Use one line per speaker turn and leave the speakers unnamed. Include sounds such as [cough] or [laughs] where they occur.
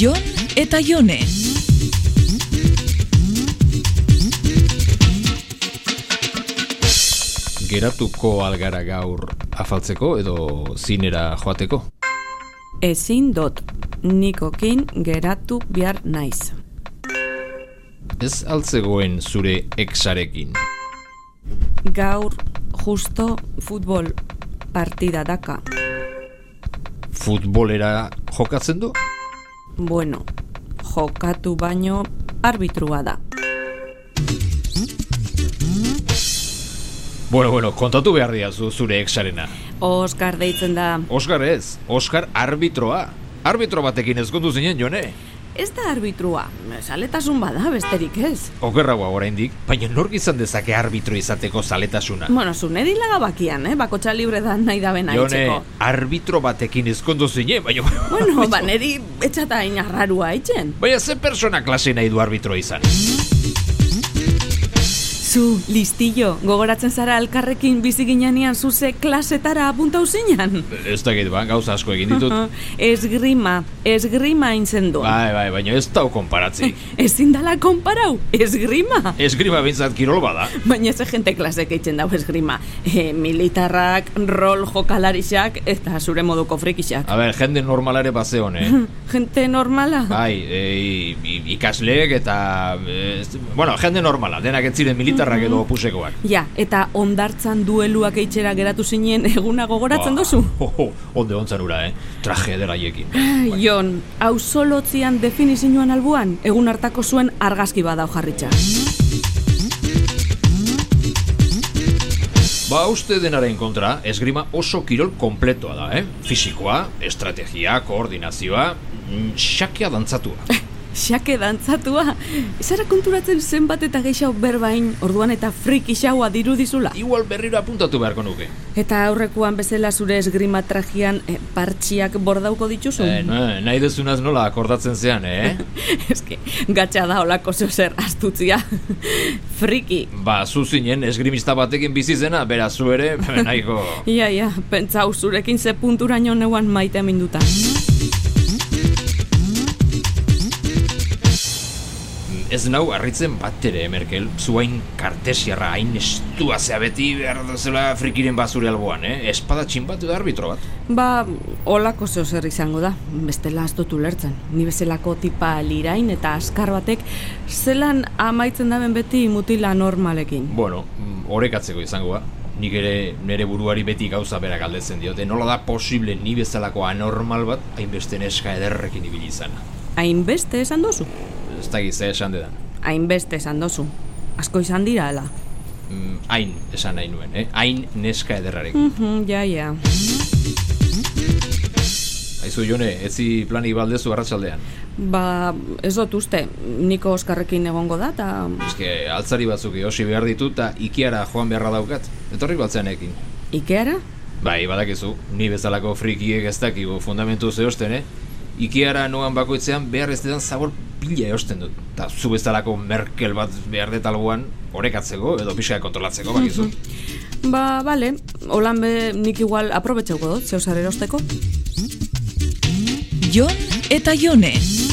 Jon eta Jone.
Geratuko algara gaur afaltzeko edo zinera joateko.
Ezin dot, nikokin geratu behar naiz.
Ez altzegoen zure exarekin.
Gaur justo futbol partida daka.
Futbolera jokatzen du?
Bueno, jokatu baino arbitrua da.
Bueno, bueno, kontatu behar diazu zure exarena.
Oskar deitzen da.
Oskar ez, Oskar arbitroa. Arbitro batekin ezkondu zinen, jone.
Ez da arbitrua, saletasun bada besterik ez.
Okerragoa oraindik, baina nork izan dezake arbitro izateko zaletasuna.
Bueno, zunedi lagabakian, eh? Bakotxa libre da nahi dabena
Jone,
etxeko.
arbitro batekin ezkondu zinen, baina... [laughs]
Bueno, ba, neri etxata inarrarua itxen.
Baina ze persona klase nahi du arbitro izan?
Zu, listillo, gogoratzen zara elkarrekin bizi ginean zuze klasetara apunta uzinan.
Ez dakit, ba, gauza asko egin
[laughs]
ditut.
esgrima, esgrima intzen du.
Bai, bai, baina ez dau konparatzik.
Ezin dala konparau, esgrima.
Eskriba bintzat kirol bada.
Baina ze jente klasek eitzen dau esgrima. E, militarrak, rol jokalarixak, eta zure moduko frikixak.
A ber, jende normalare bazeon, eh?
[clears throat] Jente normala?
Bai, e, i- ikasleek eta... eh, ez- bueno, jende normala, denak ez ziren militarrak edo opusekoak.
Ja, eta ondartzan dueluak eitzera geratu zinen eguna gogoratzen
Ba,
duzu?
Ho, ho, onde ontzan ura, eh? Traje deraiekin.
Ai, Jon, ausolotzian definizioan albuan, egun hartako zuen argazki badau jarritxa.
Ba, uste denaren kontra, esgrima oso kirol kompletoa da, eh? Fisikoa, estrategia, koordinazioa, mm, xakea
[laughs]
dantzatua.
Xake dantzatua, zara konturatzen zenbat eta geixau berbain, orduan eta friki xaua dirudizula.
Igual berriro apuntatu beharko nuke.
Eta aurrekoan bezala zure esgrima trajian eh, partxiak bordauko dituzu?
Eh, na- nahi dezunaz nola akordatzen zean, eh?
[laughs] Eske, gatxa da olako zozer astutzia. [laughs] friki.
Ba, zu zinen esgrimista batekin bizi zena, beraz zu ere, [laughs] nahiko...
Ia, ia, pentsau zurekin ze punturaino neuan maite minduta.
Ez nau harritzen bat ere, Merkel, zuain kartesiarra, hain estua zea beti behar dozela frikiren bazure alboan, eh? Espadatxin bat edo arbitro bat.
Ba, olako zozer izango da, bestela astutu lertzen. Ni bezalako tipa lirain eta askar batek zelan amaitzen daben beti mutila normalekin.
Bueno, mm, orekatzeko izango da. Nik ere nire buruari beti gauza bera galdetzen diote. Nola da posible ni bezalako anormal bat hainbeste neska ederrekin ibili izana.
Hainbeste esan duzu?
Ez da gizea esan dedan.
Hainbeste esan duzu. Asko izan dira, ala.
Mm, hain esan nahi nuen, eh? Hain neska ederrarekin.
Mhm, ja, ja.
Aizu jone, etzi planik baldezu arratsaldean.
Ba, ez dut uste, niko Oskarrekin egongo da, eta
Eske, altzari batzuk erosi behar ditu eta ikiara joan beharra daukat. Etorri batzeanekin.
Ikeara?
Bai, badakizu, ni bezalako frikiek ez dakigu fundamentu zehosten, eh? Ikiara noan bakoitzean behar ez dedan zabor pila eosten dut. Ta zu bezalako Merkel bat behar detalgoan orekatzeko edo pixka kontrolatzeko, bakizu.
Ba, bale, holan be nik igual aprobetxauko dut, zeusar erosteko.
Jon eta Jone.